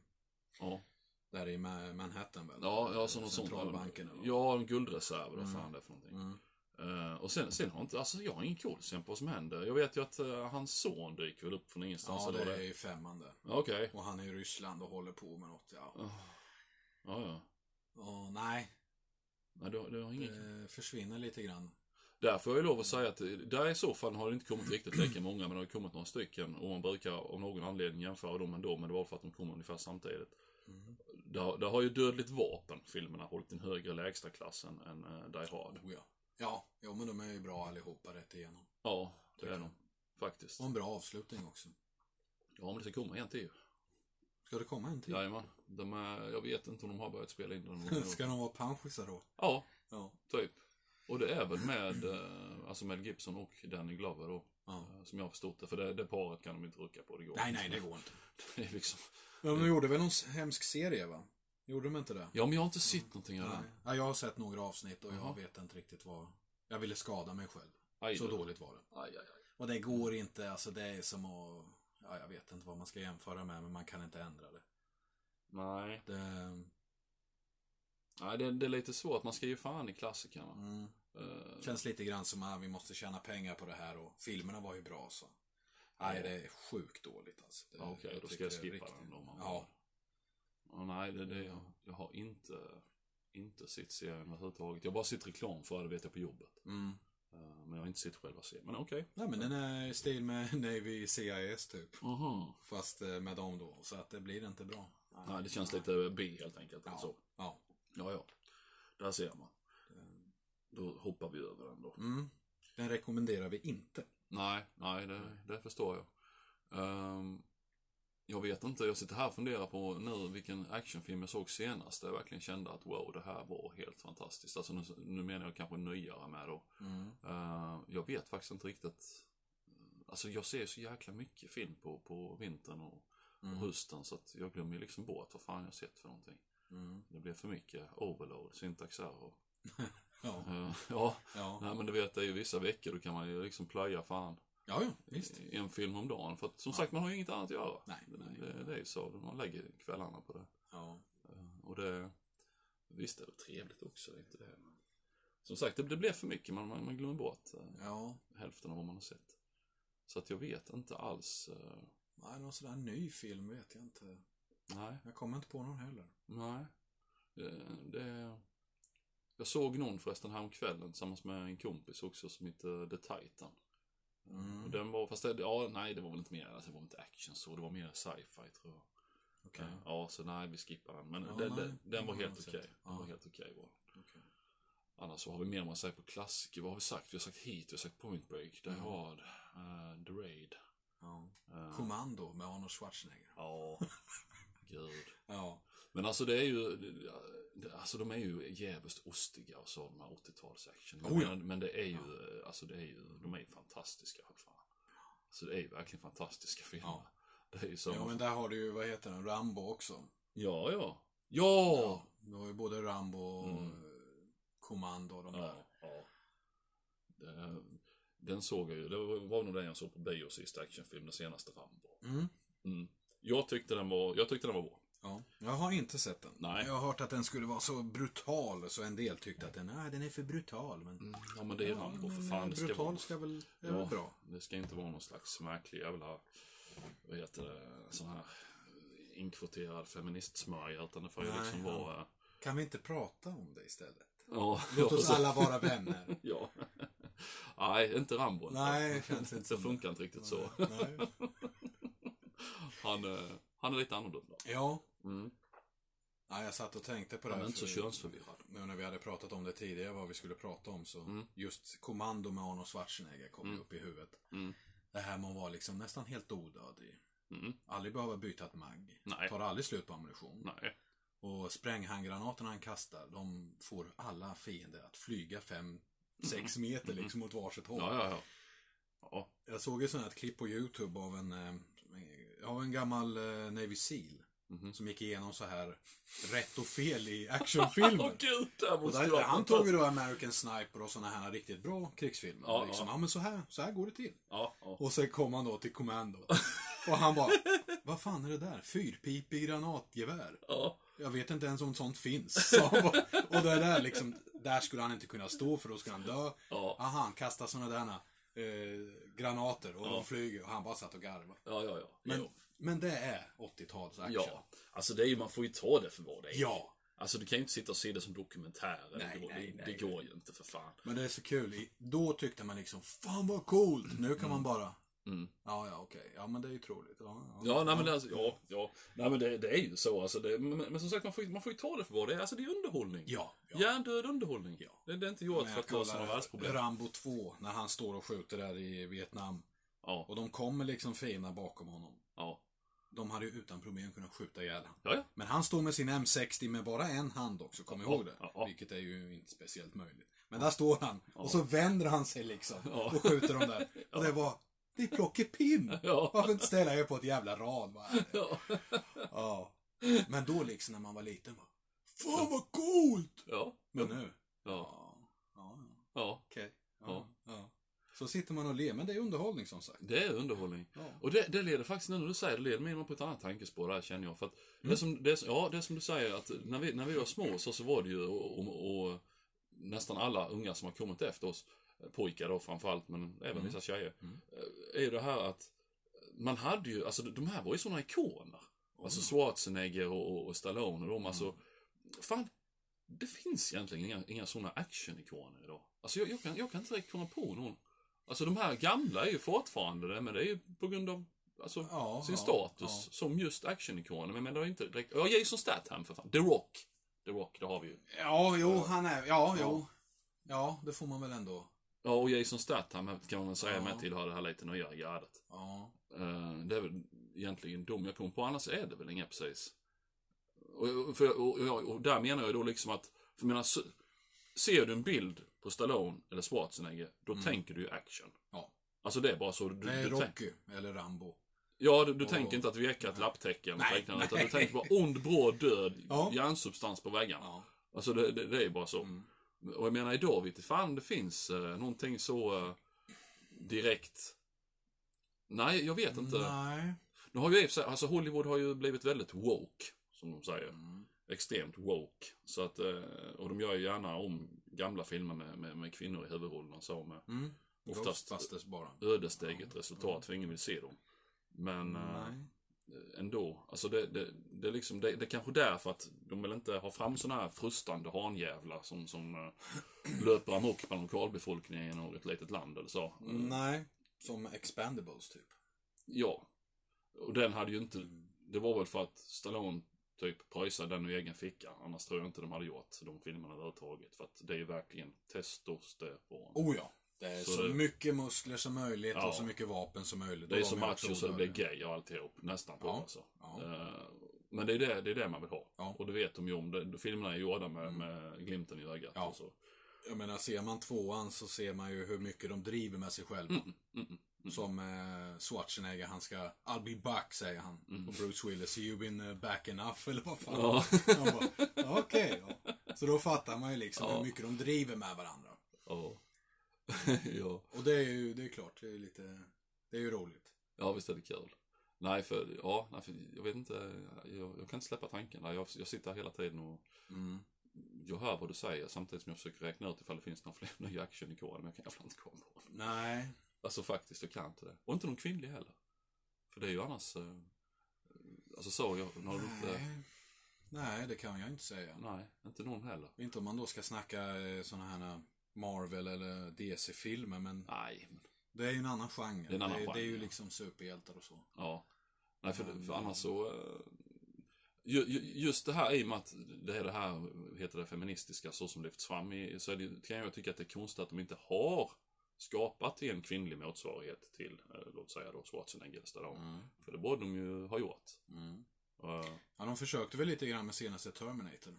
Speaker 1: ja.
Speaker 2: där i Ma- Manhattan väl?
Speaker 1: Ja, ja, så något sånt.
Speaker 2: Centralbanken eller vad?
Speaker 1: Ja, en guldreserv, vad fan det är för någonting.
Speaker 2: Mm.
Speaker 1: Eh, och sen, sen har inte, alltså jag har ingen koll sen på vad som händer. Jag vet ju att eh, hans son dyker väl upp från ingenstans.
Speaker 2: Ja,
Speaker 1: eller
Speaker 2: det
Speaker 1: vad
Speaker 2: är ju femman där.
Speaker 1: Ja, Okej.
Speaker 2: Och han är i Ryssland och håller på med något, ja.
Speaker 1: Ja, ja.
Speaker 2: Och, nej,
Speaker 1: Nej, du, har- du har ingen...
Speaker 2: det försvinner lite grann.
Speaker 1: Där får jag ju lov att säga att eh, där i så fall har det inte kommit riktigt lika många, men det har kommit några stycken. Och man brukar av någon anledning jämföra dem ändå, men det var för att de kom ungefär samtidigt.
Speaker 2: Mm.
Speaker 1: Där, där har ju Dödligt Vapen, filmerna, hållit en högre lägsta klass än, än eh, Die Hard.
Speaker 2: Oh, ja. ja, jo men de är ju bra allihopa rätt igenom.
Speaker 1: Ja, det är de. Faktiskt.
Speaker 2: Och en bra avslutning också.
Speaker 1: Ja, men det ska komma en till ju.
Speaker 2: Ska det komma en till?
Speaker 1: Jajamän. De är, jag vet inte om de har börjat spela in den.
Speaker 2: (laughs) Ska de vara panschisar då?
Speaker 1: Ja,
Speaker 2: Ja.
Speaker 1: typ. Och det är väl med, eh, alltså med Gibson och Danny Glover då.
Speaker 2: Ja.
Speaker 1: eh, Som jag har förstått det. För det, det paret kan de inte rucka på. Det går
Speaker 2: Nej,
Speaker 1: inte.
Speaker 2: nej, det går inte.
Speaker 1: (laughs) Det är liksom...
Speaker 2: Men de gjorde väl någon hemsk serie, va? Gjorde de inte det?
Speaker 1: Ja, men jag har inte sett någonting av
Speaker 2: Nej.
Speaker 1: den.
Speaker 2: Ja, jag har sett några avsnitt och jag
Speaker 1: Jaha.
Speaker 2: vet inte riktigt vad... Jag ville skada mig själv.
Speaker 1: Aj,
Speaker 2: Så
Speaker 1: du.
Speaker 2: dåligt var det.
Speaker 1: Aj, aj, aj.
Speaker 2: Och det går inte, alltså det är som att... Ja, jag vet inte vad man ska jämföra med, men man kan inte ändra det.
Speaker 1: Nej,
Speaker 2: det
Speaker 1: nej det, det är lite svårt. Man ska ge fan i klassikerna.
Speaker 2: mm,
Speaker 1: Eh,
Speaker 2: känns lite grann som att "Ah, vi måste tjäna pengar på det här och filmerna var ju bra så. Nej, det är sjukt dåligt alltså. Det-
Speaker 1: Ja, Okej, då ska
Speaker 2: tycker
Speaker 1: jag
Speaker 2: det är
Speaker 1: skippa
Speaker 2: riktigt-
Speaker 1: den då. om man-
Speaker 2: Ja,
Speaker 1: Ja, nej, det är det jag, jag har inte, inte sett serien överhuvudtaget. Jag har bara sett reklam för det, vet jag, på jobbet.
Speaker 2: mm.
Speaker 1: Eh, Men jag har inte sett själva serien. Men okej.
Speaker 2: Nej, men den är i stil med (laughs) Navy CIS typ.
Speaker 1: Aha.
Speaker 2: Fast eh, med dem då, så att det blir inte bra.
Speaker 1: Nej, det känns lite B helt enkelt. eller Så.
Speaker 2: Ja.
Speaker 1: Ja, ja. Där ser man. Då hoppar vi över den då.
Speaker 2: Mm. Den rekommenderar vi inte.
Speaker 1: Nej, nej, det, det förstår jag. Ehm, jag vet inte, jag sitter här och funderar på nu vilken actionfilm jag såg senast där jag verkligen kände att wow, det här var helt fantastiskt. Alltså nu, nu menar jag kanske nyare med då.
Speaker 2: Mm,
Speaker 1: Eh, jag vet faktiskt inte riktigt. Alltså jag ser ju så jäkla mycket film på, på vintern och, och hösten så att jag glömmer ju liksom bort vad fan jag sett för någonting.
Speaker 2: Mm.
Speaker 1: Det blir för mycket overload, syntax error.
Speaker 2: Ja,
Speaker 1: Eh, (laughs) ja,
Speaker 2: ja.
Speaker 1: nej men du vet det är ju vissa veckor då kan man ju liksom plöja fan
Speaker 2: ja, ja visst.
Speaker 1: Eh, en film om dagen. För att som sagt man har ju inget annat att göra.
Speaker 2: Nej, nej.
Speaker 1: Det, det är ju så, man lägger kvällarna på det. Eh,
Speaker 2: Ja.
Speaker 1: Och det, visst är det trevligt också, det är inte det. men- Som sagt, det, det blir för mycket, man, man, man glömmer bort eh,
Speaker 2: ja.
Speaker 1: hälften av vad man har sett. Så att jag vet inte alls. eh,
Speaker 2: Nej, någon sån där ny film vet jag inte.
Speaker 1: nej,
Speaker 2: Jag kommer inte på någon heller.
Speaker 1: nej. Eh, det, jag såg någon förresten häromkvällen tillsammans med en kompis också som heter The Titan. Och
Speaker 2: Mm.
Speaker 1: Den var, fast det, ja, nej det var väl inte mer, alltså, det var inte action så, det var mer sci-fi tror jag.
Speaker 2: Okej.
Speaker 1: Eh, Ja, så nej vi skippar den. Men
Speaker 2: Ja,
Speaker 1: den,
Speaker 2: nej,
Speaker 1: den,
Speaker 2: den
Speaker 1: den var
Speaker 2: har
Speaker 1: helt
Speaker 2: jag
Speaker 1: okej.
Speaker 2: sett.
Speaker 1: Den
Speaker 2: Ja.
Speaker 1: var helt okej var den.
Speaker 2: Okej.
Speaker 1: Annars så har vi mer man säger på klassiker. Vad har vi sagt? Vi har sagt Heat, vi har sagt Point Break, Die
Speaker 2: Mm.
Speaker 1: Hard, eh, The Raid.
Speaker 2: Ja.
Speaker 1: eh,
Speaker 2: Kommando med Arnold Schwarzenegger.
Speaker 1: Ja, (laughs) gud.
Speaker 2: Ja.
Speaker 1: Men alltså det är ju, det- alltså de är ju jävligt ostiga och så, de här 80-talsaction.
Speaker 2: Oh ja.
Speaker 1: men, men det är ju, alltså det är ju, de är ju fantastiska för fan. Alltså det är ju verkligen fantastiska filmer.
Speaker 2: Ja.
Speaker 1: Det är ju så.
Speaker 2: ja, men där har du ju, vad heter den, Rambo också.
Speaker 1: ja, ja. Ja!
Speaker 2: Du har ju både Rambo och
Speaker 1: Mm.
Speaker 2: eh, Kommando och de där.
Speaker 1: ja, ja. Det, den såg jag ju, det var, var nog den jag såg på bio sist, actionfilm, den senaste Rambo.
Speaker 2: Mm.
Speaker 1: Mm. Jag tyckte den var, jag tyckte den var bra.
Speaker 2: Ja. Jag har inte sett den.
Speaker 1: Nej.
Speaker 2: Jag har hört att den skulle vara så brutal så en del tyckte att den, nej, den är för brutal. Men,
Speaker 1: Ja men det är
Speaker 2: Mm, Ja,
Speaker 1: Rambo
Speaker 2: men,
Speaker 1: för fan. Det ska,
Speaker 2: brutal
Speaker 1: vara,
Speaker 2: ska väl, är
Speaker 1: Ja.
Speaker 2: väl bra.
Speaker 1: det ska inte vara någon slags märklig jävla, vad heter det, sån här inkvoterad feministsmörja utan det får ju
Speaker 2: Nej,
Speaker 1: liksom
Speaker 2: ja.
Speaker 1: vara...
Speaker 2: Kan vi inte prata om det istället?
Speaker 1: Ja,
Speaker 2: Låt
Speaker 1: ja,
Speaker 2: oss
Speaker 1: så-
Speaker 2: alla vara vänner.
Speaker 1: (laughs) Ja. Nej, inte Rambo. inte.
Speaker 2: Nej, det känns
Speaker 1: Det
Speaker 2: inte som
Speaker 1: funkar inte riktigt så.
Speaker 2: Nej.
Speaker 1: Han, eh, han är lite annorlunda.
Speaker 2: Ja,
Speaker 1: Mm.
Speaker 2: Ja, jag satt och tänkte på det
Speaker 1: Han
Speaker 2: här.
Speaker 1: är inte så
Speaker 2: för-
Speaker 1: könsförvirrad.
Speaker 2: Nu när vi hade pratat om det tidigare, vad vi skulle prata om, så just kommando med Arnold Schwarzenegger kom ju upp i huvudet.
Speaker 1: Mm.
Speaker 2: Det här med att vara liksom nästan helt odödlig.
Speaker 1: Mm.
Speaker 2: Aldrig behöva byta ett mag.
Speaker 1: Nej.
Speaker 2: Tar aldrig slut på ammunition.
Speaker 1: Nej.
Speaker 2: Och spränghandgranaterna han kastar, de får alla fiender att flyga fem, sex meter liksom åt varsitt håll.
Speaker 1: Mm. Ja, ja, ja. Ja,
Speaker 2: Jag såg ett sånt här klipp på YouTube av en, eh, av en gammal eh, Navy Seal.
Speaker 1: Mhm.
Speaker 2: Som gick igenom så här rätt och fel i
Speaker 1: (laughs)
Speaker 2: actionfilmer.
Speaker 1: Åh gud, där
Speaker 2: Och
Speaker 1: måste jag...
Speaker 2: där, han tog ju då American Sniper och såna här riktigt bra krigsfilmer.
Speaker 1: Ja,
Speaker 2: liksom,
Speaker 1: ja.
Speaker 2: ja. men så här, så här går det till.
Speaker 1: Ja, ja.
Speaker 2: Och sen kom han då till Commando. Och han bara, vad fan är det där? Fyrpipig granatgevär.
Speaker 1: ja.
Speaker 2: Jag vet inte ens om sånt finns. (laughs) Så han bara, och det där liksom, där skulle han inte kunna stå för då skulle han dö.
Speaker 1: Ja.
Speaker 2: Aha, han kastar såna där eh, granater och de flyger och han bara satt och garvade.
Speaker 1: Ja, ja, ja.
Speaker 2: Men,
Speaker 1: Jo.
Speaker 2: men det är 80-tals action.
Speaker 1: ja. Alltså det är ju, man får ju ta det för vad det är.
Speaker 2: ja.
Speaker 1: Alltså du kan ju inte sitta och se det som dokumentär.
Speaker 2: Nej,
Speaker 1: det, går,
Speaker 2: nej,
Speaker 1: det,
Speaker 2: nej.
Speaker 1: det går ju inte för fan.
Speaker 2: Men det är så kul. I- Då tyckte man liksom, fan vad coolt. Nu kan man bara,
Speaker 1: Mm.
Speaker 2: ja ja okej, ja men det är ju troligt. Ja, ja.
Speaker 1: Ja, nej men, det- alltså, ja, ja. Nej, men det, det är ju så alltså. Det, men, men som sagt, man får, ju- man får ju ta det för vad det är. Alltså det är underhållning.
Speaker 2: ja, ja.
Speaker 1: Hjärndöd underhållning. Det, det är inte gjort för
Speaker 2: Men jag
Speaker 1: att lösa några
Speaker 2: kollar
Speaker 1: världsproblem.
Speaker 2: Rambo 2, när han står och skjuter där i Vietnam.
Speaker 1: Ja,
Speaker 2: Och de kommer liksom fina bakom honom.
Speaker 1: ja.
Speaker 2: de hade ju utan problem kunnat skjuta ihjäl han.
Speaker 1: Ja, ja.
Speaker 2: Men han står med sin M60 med bara en hand också, kom ihåg det.
Speaker 1: ja, ja.
Speaker 2: Vilket är ju inte speciellt möjligt. Men där står han och så vänder han sig liksom
Speaker 1: (laughs) Ja.
Speaker 2: och skjuter dem där. Och det var, det är plockepinn!
Speaker 1: Ja.
Speaker 2: Varför inte ställa er på ett jävla rad? va?
Speaker 1: Ja.
Speaker 2: Ja. Men då liksom när man var liten va. Fan vad coolt!
Speaker 1: Ja.
Speaker 2: Men nu.
Speaker 1: Ja.
Speaker 2: Ja. Ja.
Speaker 1: ja.
Speaker 2: Okej.
Speaker 1: Ja.
Speaker 2: Ja. ja. Så sitter man och ler, men det är underhållning som sagt.
Speaker 1: Det är underhållning.
Speaker 2: Ja.
Speaker 1: Och det, det leder faktiskt, nu när du säger det, leder mig in på ett annat tankespår där känner jag. För att
Speaker 2: Mm.
Speaker 1: det, som, det, är som- ja, det är som du säger, att när vi, när vi var små så, så var det ju, och, och, och nästan alla unga som har kommit efter oss, pojkar då framförallt, men även
Speaker 2: Mm.
Speaker 1: vissa tjejer, eh,
Speaker 2: Mm.
Speaker 1: är ju det här att man hade ju, alltså de här var ju sådana ikoner. Alltså Schwarzenegger och, och, och Stallone och
Speaker 2: Mm.
Speaker 1: de, alltså, fan, det finns egentligen inga, inga sådana actionikoner idag. Alltså jag, jag, kan, jag kan inte riktigt komma på någon. Alltså de här gamla är ju fortfarande det, men det är ju på grund av alltså,
Speaker 2: Ja,
Speaker 1: sin
Speaker 2: ja,
Speaker 1: status som just actionikoner. Men jag menar, det är inte direkt... Ja, Jason Statham för fan. The Rock. The Rock, det har vi ju.
Speaker 2: Ja, jo, han är... Ja,
Speaker 1: Ja.
Speaker 2: jo. Ja, det får man väl ändå.
Speaker 1: Ja, och Jason Statham kan man väl säga
Speaker 2: Ja.
Speaker 1: med tillhör det här lite nyare gardet.
Speaker 2: Ja.
Speaker 1: Eh, det är väl egentligen de jag kom på, annars är det väl inga precis. Och, och- för, och, och, och där menar jag då liksom att, för jag menar, se- ser du en bild på Stallone eller Schwarzenegger, då tänker du ju action.
Speaker 2: Mm. Ja.
Speaker 1: Alltså det är bara så. Du,
Speaker 2: Det är
Speaker 1: du tänk,
Speaker 2: Rocky, eller Rambo.
Speaker 1: ja, du, du
Speaker 2: och-
Speaker 1: tänker inte att veka ett lapptäcke eller något
Speaker 2: Nej,
Speaker 1: liknande, utan
Speaker 2: nej.
Speaker 1: du tänker bara ond, bråd, död,
Speaker 2: Ja.
Speaker 1: hjärnsubstans på väggarna.
Speaker 2: Ja.
Speaker 1: Alltså det, det, det är bara så.
Speaker 2: Mm.
Speaker 1: Och jag menar idag vet du fan det finns eh, någonting så eh, direkt. Nej, jag vet inte.
Speaker 2: Nej.
Speaker 1: Nu har ju i och för sig- alltså Hollywood har ju blivit väldigt woke, som de säger.
Speaker 2: Mm.
Speaker 1: Extremt woke. Så att, eh, och de gör ju gärna om gamla filmer med, med, med kvinnor i huvudrollen och så med
Speaker 2: Mm.
Speaker 1: Oftast-
Speaker 2: Ghostbusters bara.
Speaker 1: ödesdigert resultat, för ingen vill se dem. Men eh,
Speaker 2: Nej.
Speaker 1: ändå, alltså det, det, det, är liksom, det, det är kanske därför att de vill inte ha fram sådana här frustande hanjävlar som, som eh, (clears throat) löper amok bland lokalbefolkningen i något litet land eller så. Eh,
Speaker 2: Nej. Som Expendables typ.
Speaker 1: Ja. Och den hade ju inte... Det var väl för att Stallone typ pröjsade den ur egen ficka. Annars tror jag inte de hade gjort de filmerna överhuvudtaget. För att det är ju verkligen testosteron.
Speaker 2: Oh ja. Det är
Speaker 1: Så
Speaker 2: så,
Speaker 1: det-
Speaker 2: mycket muskler som möjligt
Speaker 1: Ja.
Speaker 2: och så mycket vapen som möjligt.
Speaker 1: det är
Speaker 2: Och
Speaker 1: så
Speaker 2: de
Speaker 1: macho
Speaker 2: också
Speaker 1: så det blir
Speaker 2: odödliga.
Speaker 1: gay och alltihop. Nästan på
Speaker 2: Ja.
Speaker 1: alltså.
Speaker 2: Ja.
Speaker 1: Eh, Men det är det, det är det man vill ha.
Speaker 2: Ja. Mm.
Speaker 1: Och det vet de ju om. Det, filmerna är gjorda med, med glimten i ögat.
Speaker 2: Ja.
Speaker 1: Och så.
Speaker 2: Jag menar, ser man tvåan så ser man ju hur mycket de driver med sig själva.
Speaker 1: Mm,
Speaker 2: Som eh, Schwarzenegger, han ska I'll be back, säger han. Och Bruce Willis, you been eh, back enough, eller vad fan.
Speaker 1: Mm. Ja.
Speaker 2: (laughs) Han bara, "Ja, okej. ja." Så då fattar man ju liksom
Speaker 1: Ja.
Speaker 2: hur mycket de driver med varandra.
Speaker 1: Ja. (laughs) ja.
Speaker 2: Och det är ju, det är klart, det är ju lite, det är ju roligt.
Speaker 1: Ja, visst är det kul. Nej, för, ja, nej, för jag vet inte. Jag, jag kan inte släppa tanken. där. Jag, jag sitter hela tiden och Mm. jag hör vad du säger samtidigt som jag försöker räkna ut ifall det finns några fler nya actionikoner, men jag kan jävla inte komma på dem.
Speaker 2: Nej,
Speaker 1: Alltså faktiskt, jag kan inte det. Och inte någon kvinnlig heller. För det är ju annars... Eh, alltså så, jag, när du inte...
Speaker 2: nej. Nej, det kan jag inte säga.
Speaker 1: Nej, inte någon heller.
Speaker 2: Inte om man då ska snacka sådana här eh, Marvel eller DC-filmer, men
Speaker 1: Nej, men,
Speaker 2: det är ju en annan genre.
Speaker 1: Det är en annan
Speaker 2: det, det är
Speaker 1: genre,
Speaker 2: ju
Speaker 1: ja.
Speaker 2: liksom superhjältar och så.
Speaker 1: ja. Nej, för, för annars så... Eh, ju, ju, just det här i och med att det är det här, heter det feministiska, så som lyfts fram i, så är det, kan jag tycka att det är konstigt att de inte har skapat en kvinnlig motsvarighet till, eh, låt säga då, Schwarzenegger eller Stallone. För det borde de ju ha gjort.
Speaker 2: Mm.
Speaker 1: Eh,
Speaker 2: Ja, de försökte väl lite grann med senaste Terminator.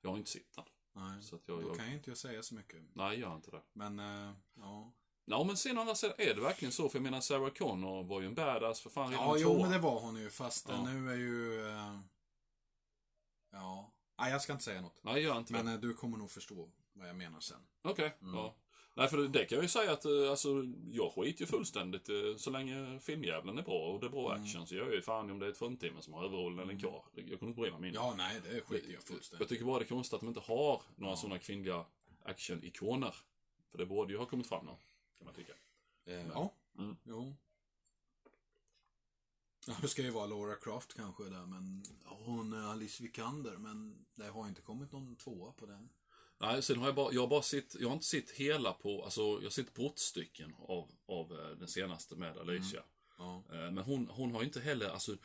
Speaker 1: Jag har inte sett den.
Speaker 2: Nej,
Speaker 1: Så att jag,
Speaker 2: då
Speaker 1: jag...
Speaker 2: kan ju inte jag säga så mycket.
Speaker 1: Nej, jag har inte det.
Speaker 2: Men, eh, ja.
Speaker 1: Ja, men sen å andra sidan är det verkligen så, för jag menar Sarah Connor var ju en badass för fan redan
Speaker 2: Ja,
Speaker 1: i
Speaker 2: jo,
Speaker 1: tvåan.
Speaker 2: men det var hon ju. Fast eh,
Speaker 1: Ja.
Speaker 2: nu är ju... Eh, ja. Nej, jag ska inte säga något.
Speaker 1: Nej, gör inte
Speaker 2: Men
Speaker 1: det.
Speaker 2: eh, du kommer nog förstå vad jag menar sen.
Speaker 1: Okej, ja. Nej, för det, det kan jag ju säga att eh, alltså, jag skiter ju fullständigt eh, så länge filmjävlen är bra och det är bra
Speaker 2: Mm.
Speaker 1: action så jag är ju fan om det är ett fruntimmer som har överrollen eller en karl. Jag kommer inte bry mig mindre.
Speaker 2: Ja, nej, det skiter jag
Speaker 1: Jag
Speaker 2: fullständigt
Speaker 1: tycker bara det är konstigt att de inte har några sådana kvinnliga actionikoner. För det borde ju ha kommit fram nu, kan man tycka.
Speaker 2: eh, Ja,
Speaker 1: Mm.
Speaker 2: jo. Ja, det ska ju vara Laura Croft kanske där, men hon är Alice Vikander, men det har inte kommit någon tvåa på den.
Speaker 1: Nej, sen har jag bara, jag har bara sett, jag har inte sett hela på, alltså jag har sett brottstycken av, av eh, den senaste med Alicia.
Speaker 2: Ja.
Speaker 1: Eh, Men hon, hon har ju inte heller, alltså,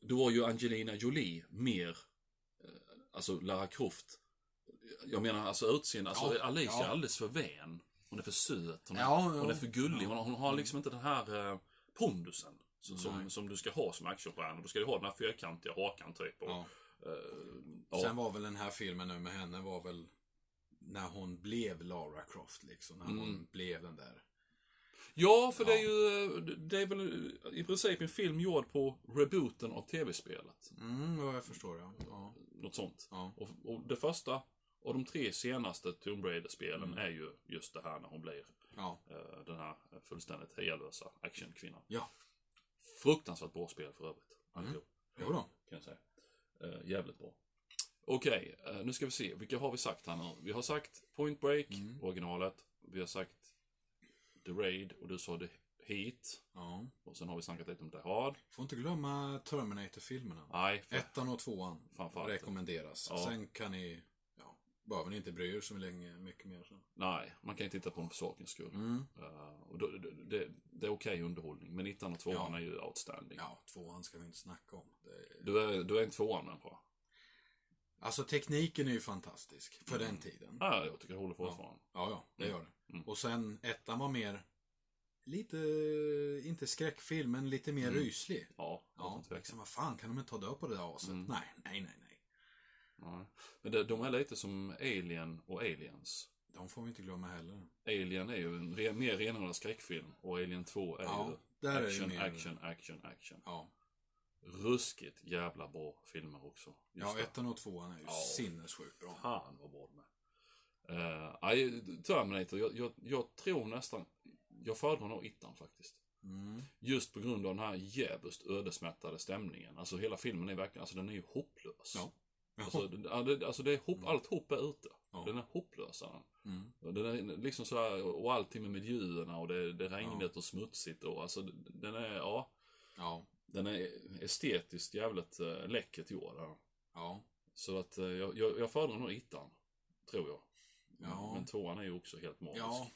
Speaker 1: då var ju Angelina Jolie mer, eh, alltså Lara Croft. Jag menar alltså utseende, alltså
Speaker 2: Ja,
Speaker 1: Alicia
Speaker 2: ja.
Speaker 1: är alldeles för vän. Hon är för söt, hon är,
Speaker 2: Ja,
Speaker 1: hon
Speaker 2: ja.
Speaker 1: är för gullig, hon, hon har liksom inte den här eh, pondusen. Som, som, som du ska ha som actionstjärna. Du ska ju ha den här fyrkantiga hakan typ. Och,
Speaker 2: Ja.
Speaker 1: eh, ja.
Speaker 2: Sen var väl den här filmen nu med henne var väl när hon blev Lara Croft liksom. När hon blev den där.
Speaker 1: ja, för det är ju, eh, det är väl eh, i princip en film gjord på rebooten av tv-spelet.
Speaker 2: Mm, ja, jag förstår ja. ja.
Speaker 1: Något sånt.
Speaker 2: Ja.
Speaker 1: Och, och det första och de tre senaste Tomb Raider-spelen är ju just det här när hon blir
Speaker 2: Ja.
Speaker 1: eh, den här fullständigt hejalösa actionkvinnan.
Speaker 2: Ja.
Speaker 1: Fruktansvärt bra spel för övrigt. allihop,
Speaker 2: Jo då.
Speaker 1: Kan jag säga. Eh, jävligt bra. Okej, eh, nu ska vi se. Vilka har vi sagt här nu? Vi har sagt Point Break, originalet. Vi har sagt The Raid och du sa The Heat.
Speaker 2: Ja.
Speaker 1: Och sen har vi snackat lite om The Hard.
Speaker 2: Får inte glömma Terminator-filmerna.
Speaker 1: Nej, för
Speaker 2: Ettan och tvåan
Speaker 1: Framförallt.
Speaker 2: rekommenderas. Sen kan ni, ja, behöver ni inte bry er så länge mycket mer. Så.
Speaker 1: Nej, man kan ju titta på dem för sakens skull.
Speaker 2: Mm.
Speaker 1: Eh, och då, det, det, det är okej underhållning, men ettan och tvåan
Speaker 2: Ja.
Speaker 1: är ju outstanding.
Speaker 2: Ja, tvåan ska vi inte snacka om. Det är...
Speaker 1: Du, är, du är en tvåan människa.
Speaker 2: Alltså tekniken är ju fantastisk för
Speaker 1: Mm.
Speaker 2: den tiden.
Speaker 1: Ja, jag tycker det håller fortfarande.
Speaker 2: Mm. Ja, ja,
Speaker 1: Mm.
Speaker 2: det gör det. Och sen ettan var mer, lite, inte skräckfilm, men lite mer
Speaker 1: Mm.
Speaker 2: ryslig.
Speaker 1: Ja,
Speaker 2: Ja,
Speaker 1: utan tvekan.
Speaker 2: liksom vad fan kan de inte ta död på det där aset?
Speaker 1: Mm.
Speaker 2: Nej, nej, nej, nej.
Speaker 1: Nej. Men det, de är lite som Alien och Aliens.
Speaker 2: De får vi inte glömma heller.
Speaker 1: Alien är ju en re, mer renodlad skräckfilm och Alien 2 är
Speaker 2: Ja,
Speaker 1: ju
Speaker 2: där är det
Speaker 1: action,
Speaker 2: mer-
Speaker 1: action, action, action.
Speaker 2: Ja,
Speaker 1: Ruskigt jävla bra filmer också. Just
Speaker 2: ja
Speaker 1: det.
Speaker 2: ettan och tvåan är ju
Speaker 1: Ja.
Speaker 2: sinnessjukt bra.
Speaker 1: Fan vad bra de är. Eh, nej, Terminator, jag, jag, jag tror nästan, jag föredrar nog ettan faktiskt.
Speaker 2: Mm.
Speaker 1: Just på grund av den här djävulskt ödesmättade stämningen. Alltså hela filmen är verkligen, alltså den är ju hopplös.
Speaker 2: Ja. Mm.
Speaker 1: Alltså, det- ja, det, alltså det är hopp, allt hopp är ute.
Speaker 2: Ja.
Speaker 1: Den är hopplös. är den.
Speaker 2: Mm.
Speaker 1: Och Den är liksom så här, och allting med miljöerna och det, det är regnigt och smutsigt och alltså den är, ja.
Speaker 2: Ja,
Speaker 1: Den är estetiskt jävligt eh, läckert gjord. ja.
Speaker 2: ja.
Speaker 1: Så att eh, jag, jag, jag föredrar nog ettan. Tror jag.
Speaker 2: Ja.
Speaker 1: Men tvåan är ju också helt magisk.
Speaker 2: Ja,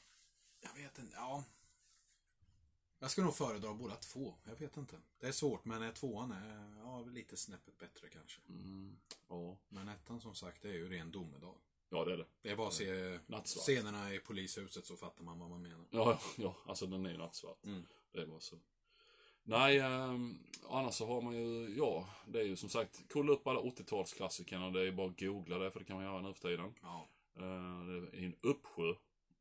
Speaker 2: jag vet inte. Ja. Jag ska nog föredra båda två. Jag vet inte. Det är svårt, men eh, tvåan är ja, lite snäppet bättre kanske.
Speaker 1: Mm, ja.
Speaker 2: Men ettan som sagt, det är ju ren domedag.
Speaker 1: ja, det är det.
Speaker 2: Det är bara att se
Speaker 1: Mm. Nattsvart.
Speaker 2: scenerna i polishuset så fattar man vad man menar.
Speaker 1: Ja, ja, alltså den är ju nattsvart.
Speaker 2: Mm.
Speaker 1: Det var så. Nej, ehm, annars så har man ju, ja, det är ju som sagt, kolla upp alla 80-talsklassikerna. Det är ju bara att googla det, för det kan man göra nu för tiden.
Speaker 2: Ja,
Speaker 1: Eh, Det är en uppsjö.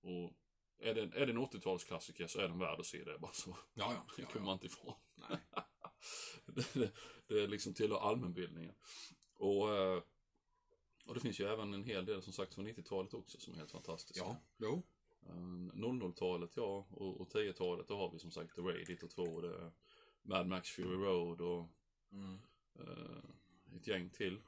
Speaker 1: Och är det, är det en 80-talsklassiker så är den värd att se. Det är bara så.
Speaker 2: ja, ja.
Speaker 1: Det
Speaker 2: ja,
Speaker 1: kommer man
Speaker 2: ja.
Speaker 1: inte ifrån.
Speaker 2: Nej.
Speaker 1: (laughs) Det, det, det är liksom tillhör allmänbildningen. Och, eh, och det finns ju även en hel del som sagt från 90-talet också som är helt fantastiska.
Speaker 2: ja. Jo.
Speaker 1: Eh, 00-talet ja, och, och 10-talet då har vi som sagt The Raid 1 och 2 och det är Mad Max Fury Road och
Speaker 2: Mm.
Speaker 1: eh, ett gäng till.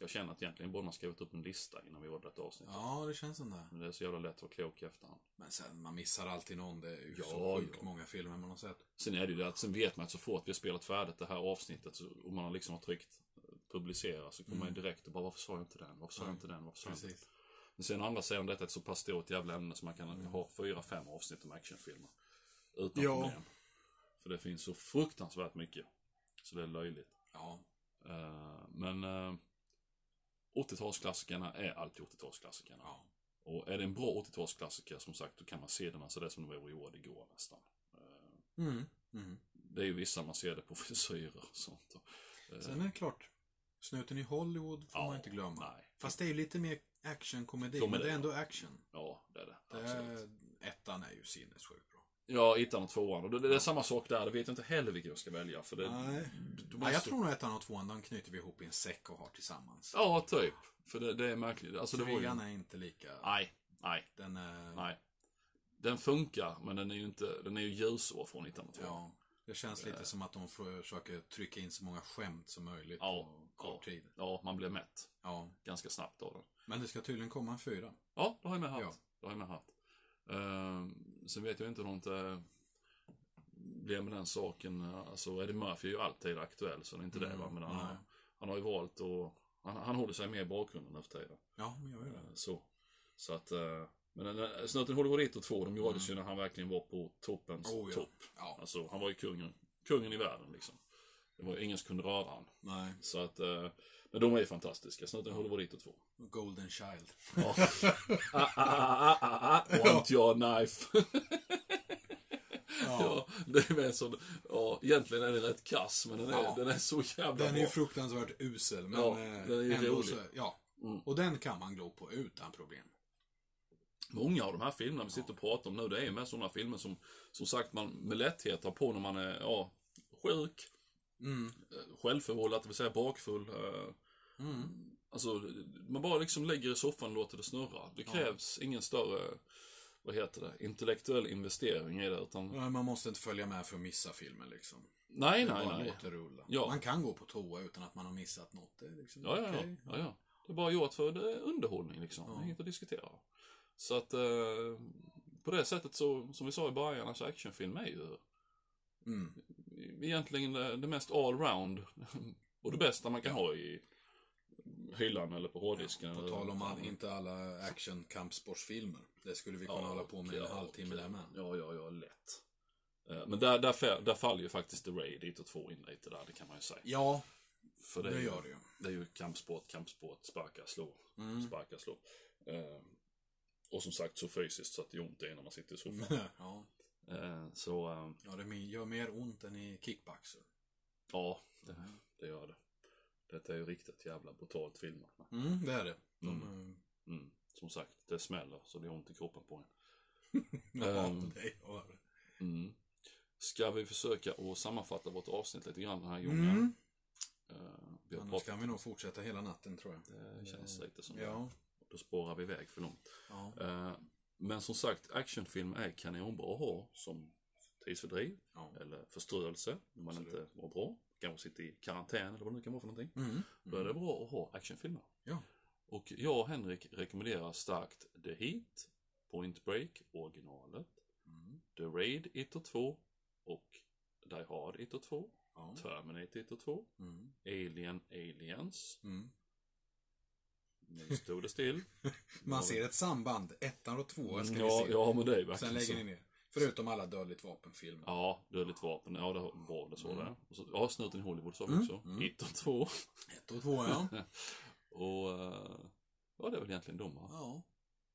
Speaker 1: Jag känner att egentligen borde man skrivit upp en lista innan vi gjorde ett avsnitt.
Speaker 2: Ja, det känns som det.
Speaker 1: Men det är så jävla lätt att vara klok i efterhand.
Speaker 2: Men sen, man missar alltid någon. Det är ju
Speaker 1: Ja,
Speaker 2: så sjukt
Speaker 1: ja.
Speaker 2: många filmer man har sett.
Speaker 1: Sen är det ju det att sen vet man att så fort vi har spelat färdigt det här avsnittet så- och man har liksom har tryckt eh, publicera så kommer man ju direkt och bara varför sa jag inte den? Varför sa jag inte den? Varför sa jag inte den?
Speaker 2: Mm. Precis.
Speaker 1: Men sen å andra sidan detta är ett så pass stort jävla ämne så man kan ha fyra, fem avsnitt om actionfilmer. Utan
Speaker 2: Mm. Ja.
Speaker 1: problem. För det finns så fruktansvärt mycket. Så det är löjligt.
Speaker 2: Ja,
Speaker 1: Eh, men eh, 80-talsklassikerna är alltid 80-talsklassikerna.
Speaker 2: ja.
Speaker 1: Och är det en bra 80-talsklassiker som sagt då kan man se den alltså det som de vore gjord igår nästan.
Speaker 2: Mm. Mm.
Speaker 1: Det är ju vissa man ser det på (laughs) frisyrer och sånt. Och, eh,
Speaker 2: Sen är det klart, Snuten i Hollywood får
Speaker 1: Ja,
Speaker 2: man inte glömma.
Speaker 1: nej.
Speaker 2: Fast det är ju lite mer actionkomedi,
Speaker 1: Komedi,
Speaker 2: men det är
Speaker 1: ja.
Speaker 2: ändå action.
Speaker 1: ja, det är det.
Speaker 2: Det
Speaker 1: Absolut.
Speaker 2: är, ettan är ju sinnessjukt bra.
Speaker 1: Ja, ettan och tvåan. Och det, det är samma sak där. Det vet jag inte heller vilka jag ska välja. För det,
Speaker 2: Nej.
Speaker 1: du- du
Speaker 2: Nej,
Speaker 1: måste-
Speaker 2: jag tror nog ettan och tvåan, de knyter vi ihop i en säck och har tillsammans.
Speaker 1: Ja, typ. För det, det är märkligt. Alltså, det var ju...
Speaker 2: Trean är inte lika...
Speaker 1: Nej, nej,
Speaker 2: Den är...
Speaker 1: nej. Den funkar, men den är ju inte... Den är ju ljusår från ettan och tvåan.
Speaker 2: Ja. Det känns
Speaker 1: Eh.
Speaker 2: lite som att de försöker trycka in så många skämt som möjligt
Speaker 1: Ja,
Speaker 2: på
Speaker 1: ja,
Speaker 2: kort tid.
Speaker 1: ja, man blir mätt
Speaker 2: Ja.
Speaker 1: ganska snabbt av den.
Speaker 2: Men det ska tydligen komma en fyra.
Speaker 1: Ja, då har jag med hatt.
Speaker 2: Ja.
Speaker 1: Då har jag med hatt. Ehm, sen vet jag inte hur långt det blir med den saken. Alltså Eddie Murphy är ju alltid aktuell, så det är inte det va. Men han,
Speaker 2: Mm, nej.
Speaker 1: han har ju valt och han, han håller sig med i bakgrunden nu för tiden.
Speaker 2: Ja, men jag gör det.
Speaker 1: Eh, Så. Så att, eh, men den- Snuten Hollywood 1 och 2, de gjordes ju när han verkligen var på toppens
Speaker 2: Mm. Oh, ja.
Speaker 1: topp.
Speaker 2: Ja.
Speaker 1: Alltså, han var ju kungen, kungen i världen liksom. Det var ju ingen som kunde röra han.
Speaker 2: Nej.
Speaker 1: Så att, eh, men de är ju fantastiska. Snuten Hollywood 1 och 2.
Speaker 2: Golden Child.
Speaker 1: Ja. ah, ah, ah, ah, ah, ah, want your knife. (laughs) Ja, det är mer som, ja, egentligen är den rätt kass, men den är,
Speaker 2: Ja.
Speaker 1: den är så jävla
Speaker 2: Den är
Speaker 1: bra.
Speaker 2: ju fruktansvärt usel, men
Speaker 1: Ja,
Speaker 2: eh,
Speaker 1: den är ju
Speaker 2: ändå
Speaker 1: rolig.
Speaker 2: så, ja.
Speaker 1: Mm.
Speaker 2: Och den kan man glo på utan problem.
Speaker 1: Många av de här filmerna vi sitter och pratar om nu, det är ju mer sådana filmer som, som sagt, man med lätthet har på när man är, ja, sjuk,
Speaker 2: Mm.
Speaker 1: eh, självförvållat, det vill säga bakfull. eh,
Speaker 2: Mm.
Speaker 1: Alltså, man bara liksom lägger i soffan och låter det snurra. Det
Speaker 2: Ja.
Speaker 1: krävs ingen större, vad heter det, intellektuell investering i det, utan...
Speaker 2: Ja, Man måste inte följa med för att missa filmen liksom.
Speaker 1: Nej,
Speaker 2: Det är
Speaker 1: nej,
Speaker 2: bara
Speaker 1: nej.
Speaker 2: låter rulla.
Speaker 1: Ja.
Speaker 2: Man kan gå på toa utan att man har missat något. Det är liksom,
Speaker 1: Ja, ja, ja.
Speaker 2: okej.
Speaker 1: ja, ja. Det är bara gjort för det är underhållning liksom.
Speaker 2: Ja.
Speaker 1: Det är inget att diskutera. Så att eh, på det sättet så, som vi sa i början, alltså actionfilm är ju
Speaker 2: Mm.
Speaker 1: egentligen det, det mest allround (laughs) och det bästa man kan ha i hyllan eller på hårddisken.
Speaker 2: På
Speaker 1: eller-
Speaker 2: tal om all, inte alla action kampsportsfilmer. Det skulle vi kunna hålla på med
Speaker 1: ja,
Speaker 2: en halvtimme
Speaker 1: okej.
Speaker 2: där med.
Speaker 1: Ja, ja, ja, lätt. Eh, Men där, där, fä- där faller ju faktiskt The Raid 1 och 2 in lite där, det kan man ju säga.
Speaker 2: Ja,
Speaker 1: För
Speaker 2: det
Speaker 1: är ju-
Speaker 2: gör det ju.
Speaker 1: Det är ju kampsport, kampsport, sparka, slå,
Speaker 2: Mm.
Speaker 1: sparka, slå. Eh, och som sagt så fysiskt så att det gör ont det är när man sitter i soffan.
Speaker 2: (laughs) ja.
Speaker 1: (laughs) Eh, så, eh,
Speaker 2: ja, det mi- gör mer ont än i kickboxer.
Speaker 1: ja, det, det gör det. Detta är ju riktigt jävla brutalt filmat.
Speaker 2: Mm, det är det. De,
Speaker 1: Mm. Som sagt, det smäller så det gör ont i kroppen på en.
Speaker 2: eh, ja,
Speaker 1: Ehm.
Speaker 2: det gör det.
Speaker 1: Mm. Ska vi försöka att sammanfatta vårt avsnitt lite grann den här gången?
Speaker 2: Mm.
Speaker 1: Eh, vi har
Speaker 2: Annars
Speaker 1: pratat,
Speaker 2: kan vi nog fortsätta hela natten tror jag.
Speaker 1: det känns lite som det.
Speaker 2: Ja.
Speaker 1: Då spårar vi iväg för långt.
Speaker 2: ja.
Speaker 1: Eh, men som sagt, actionfilm är kanonbra att ha som tidsfördriv
Speaker 2: ja.
Speaker 1: eller förströelse när man
Speaker 2: Absolut.
Speaker 1: inte mår bra. Kanske sitter i karantän eller vad det nu kan vara för någonting.
Speaker 2: Mm.
Speaker 1: Då är det bra att ha actionfilmer.
Speaker 2: Ja.
Speaker 1: Och jag och Henrik rekommenderar starkt The Heat, Point Break, originalet,
Speaker 2: Mm.
Speaker 1: The Raid 1 och 2 och Die Hard 1 och 2,
Speaker 2: Ja.
Speaker 1: Terminator 1 och 2,
Speaker 2: Mm.
Speaker 1: Alien Aliens,
Speaker 2: Mm.
Speaker 1: Nu stod det still.
Speaker 2: (laughs) Man ser ett samband. Ettan och tvåan ska
Speaker 1: ja,
Speaker 2: vi se.
Speaker 1: ja, men det är ju verkligen
Speaker 2: Sen lägger
Speaker 1: så.
Speaker 2: ni ner. Förutom alla dödligt vapenfilmer.
Speaker 1: Ja, dödligt vapen. Ja, det var det så
Speaker 2: Mm.
Speaker 1: det. Och så, ja, snuten i Hollywood sa vi
Speaker 2: Mm,
Speaker 1: också.
Speaker 2: mm.
Speaker 1: Ett och två.
Speaker 2: Ett och två,
Speaker 1: (laughs)
Speaker 2: ja.
Speaker 1: Och eh, ja, det är väl egentligen de va?
Speaker 2: ja.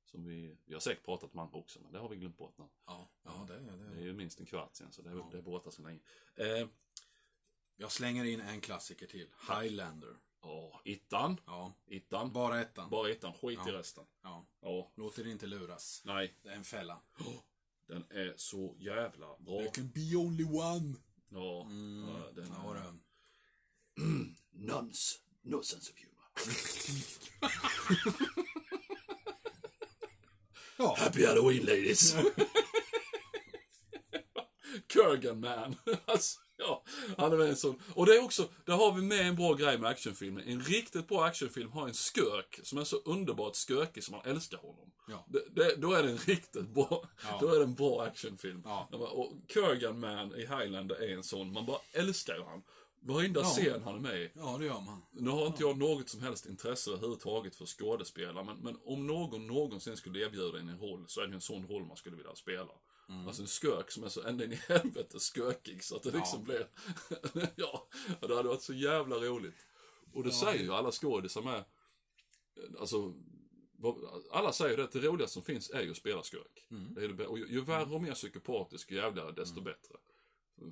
Speaker 1: Som vi, vi har säkert pratat om andra också, men det har vi glömt bort nu.
Speaker 2: Ja, ja det, är- det.
Speaker 1: Det är
Speaker 2: är-
Speaker 1: ju minst en kvart sen, så det, är
Speaker 2: Ja.
Speaker 1: det är borta så länge. Eh,
Speaker 2: Jag slänger in en klassiker till. Highlander.
Speaker 1: ja, ettan.
Speaker 2: Ja,
Speaker 1: Ettan.
Speaker 2: bara ettan.
Speaker 1: Bara ettan, skit i
Speaker 2: Ja.
Speaker 1: resten.
Speaker 2: Ja,
Speaker 1: Ja,
Speaker 2: låt er inte luras.
Speaker 1: nej.
Speaker 2: Det är en fälla.
Speaker 1: Den är så jävla bra.
Speaker 2: There can be only one.
Speaker 1: Ja,
Speaker 2: Mm.
Speaker 1: ja, den
Speaker 2: Ja,
Speaker 1: är...
Speaker 2: det.
Speaker 1: Nuns. No sense of humor.
Speaker 2: Ja,
Speaker 1: Happy Halloween ladies! (laughs) Kurgan man. (laughs) Alltså, ja, han är med en sån. Och det är också, där har vi med en bra grej med actionfilmen. En riktigt bra actionfilm har en skök som är så underbart skökig som man älskar honom.
Speaker 2: Ja.
Speaker 1: Det, det, då är det en riktigt bra,
Speaker 2: Ja.
Speaker 1: då är det en bra actionfilm.
Speaker 2: Ja.
Speaker 1: Och Kurgan man i Highlander är en sån, man bara älskar ju han. Varenda
Speaker 2: Ja.
Speaker 1: scen han är med i.
Speaker 2: ja det gör man.
Speaker 1: Nu har inte jag något som helst intresse överhuvudtaget för skådespelare, men, men om någon någonsin skulle erbjuda en en roll så är det en sån roll man skulle vilja spela. Alltså en skök som är så ända in i helvete skökig så att det liksom blir... (laughs) ja, det hade varit så jävla roligt. Och det säger ju alla skådisar med. Alltså, vad- alla säger det att det roligaste som finns är ju att spela skurk. Det är det, bä- och ju, ju värre och mer psykopatisk och jävligare desto bättre.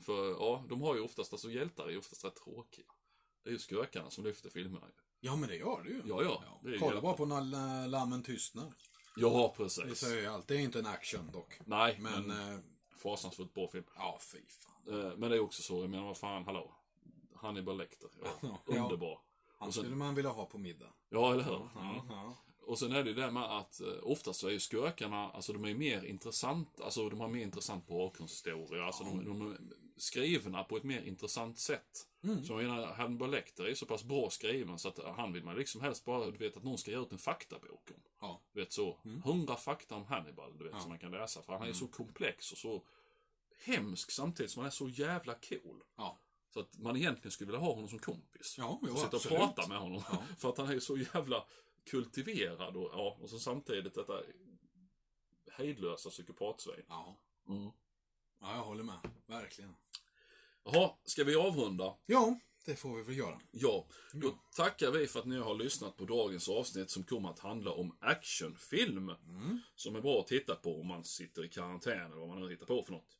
Speaker 1: För ja, de har ju oftast, alltså hjältar är ju oftast rätt tråkiga. Det är ju skurkarna som lyfter filmerna ju.
Speaker 2: Ja, men det gör det ju.
Speaker 1: Ja, ja. Det är ju
Speaker 2: Kolla
Speaker 1: helt-
Speaker 2: bara på när la- lammen tystnar.
Speaker 1: Ja,
Speaker 2: Det
Speaker 1: precis.
Speaker 2: säger jag allt. Det är inte en action dock.
Speaker 1: Nej, men,
Speaker 2: Men, eh,
Speaker 1: fasansfullt bra film.
Speaker 2: ja, fy fan.
Speaker 1: Eh, Men det är också så, jag menar vad fan, hallå. Hannibal Lecter, ja.
Speaker 2: Ja.
Speaker 1: Underbar.
Speaker 2: Han
Speaker 1: Och sen-
Speaker 2: skulle man vilja ha på middag.
Speaker 1: Ja, eller hur? Mm.
Speaker 2: Ja, ja.
Speaker 1: Och sen är det ju det med att eh, oftast så är ju skurkarna, alltså de är ju mer intressant, alltså de har mer intressant bakgrundshistoria, alltså de, de är skrivna på ett mer intressant sätt. Så jag menar, Hannibal Lecter är ju så pass bra skriven så att eh, han vill man liksom helst bara, du vet, att någon ska ge ut en faktabok om.
Speaker 2: Ja.
Speaker 1: Du vet så,
Speaker 2: Mm.
Speaker 1: hundra fakta om Hannibal, du vet, som man kan läsa. För han är ju så komplex och så hemsk samtidigt som han är så jävla cool.
Speaker 2: Ja,
Speaker 1: Så att man egentligen skulle vilja ha honom som kompis.
Speaker 2: ja jo,
Speaker 1: Och sitta och
Speaker 2: absolut.
Speaker 1: prata med honom. (laughs) För att han är ju så jävla kultiverad och, ja, och så samtidigt detta hejdlösa psykopatsvin.
Speaker 2: Ja.
Speaker 1: Mm.
Speaker 2: ja, jag håller med. Verkligen.
Speaker 1: Jaha, ska vi avrunda?
Speaker 2: Ja, det får vi väl göra.
Speaker 1: Ja, då
Speaker 2: Mm.
Speaker 1: tackar vi för att ni har lyssnat på dagens avsnitt som kommer att handla om Mm. actionfilm. Som är bra att titta på om man sitter i karantän eller vad man nu hittar på för något.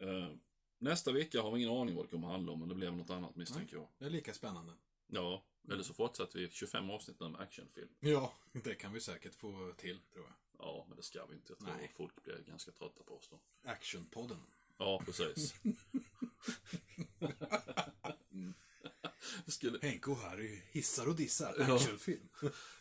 Speaker 1: Eh, nästa vecka har vi ingen aning vad det kommer handla om, men det blev något annat misstänker jag.
Speaker 2: Det är lika spännande.
Speaker 1: Ja, Mm. eller så fortsätter vi 25 avsnitt nu med actionfilm.
Speaker 2: Ja, det kan vi säkert få till, tror jag.
Speaker 1: Ja, men det ska vi inte. Jag tror
Speaker 2: Nej.
Speaker 1: att folk blir ganska trötta på oss då.
Speaker 2: Actionpodden.
Speaker 1: Ja, (laughs) precis. Mm. Det skulle,
Speaker 2: Henke och Harry hissar och dissar.
Speaker 1: Ja.
Speaker 2: Actionfilm.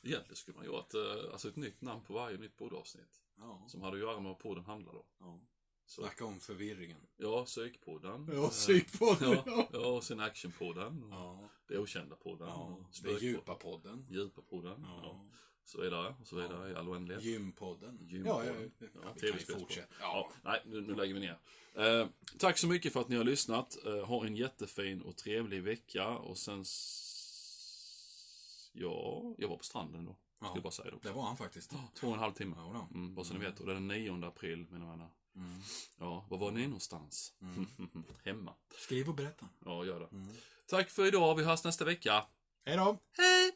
Speaker 1: egentligen skulle man göra ett, eh, alltså ett nytt namn på varje nytt poddavsnitt.
Speaker 2: Ja.
Speaker 1: Som hade att göra med vad podden handlar om.
Speaker 2: ja.
Speaker 1: Så-
Speaker 2: Snacka om förvirringen.
Speaker 1: Ja, psykpodden.
Speaker 2: Ja,
Speaker 1: Eh,
Speaker 2: psykpodden.
Speaker 1: (laughs) Ja, ja, och sen actionpodden.
Speaker 2: Ja.
Speaker 1: Det okända podden.
Speaker 2: ja. Det är
Speaker 1: spökpodden,
Speaker 2: djupa podden.
Speaker 1: Djupa podden. Ja.
Speaker 2: Ja.
Speaker 1: Så vidare, och så vidare i all oändlighet.
Speaker 2: Gympodden.
Speaker 1: Gympodden.
Speaker 2: Ja, ja,
Speaker 1: Ja,
Speaker 2: ja. vi kan ju
Speaker 1: TV-spelspodden.
Speaker 2: fortsätta.
Speaker 1: Ja,
Speaker 2: Ja.
Speaker 1: nej, nu, nu lägger vi ner. Eh, tack så mycket för att ni har lyssnat. Eh, ha en jättefin och trevlig vecka och sen... s- Ja, jag var på stranden då. Skulle
Speaker 2: Ja.
Speaker 1: jag bara säga det också.
Speaker 2: Det var han faktiskt.
Speaker 1: Två och en halv timme.
Speaker 2: Ja, då.
Speaker 1: Mm, bara så ni vet. Och det är den 9 april, mina vänner.
Speaker 2: Mm.
Speaker 1: Ja, var var ni någonstans? (laughs) Hemma.
Speaker 2: Skriv och berätta.
Speaker 1: Ja, gör det.
Speaker 2: Mm.
Speaker 1: Tack för idag. Vi hörs nästa vecka.
Speaker 2: Hej då!
Speaker 1: Hej!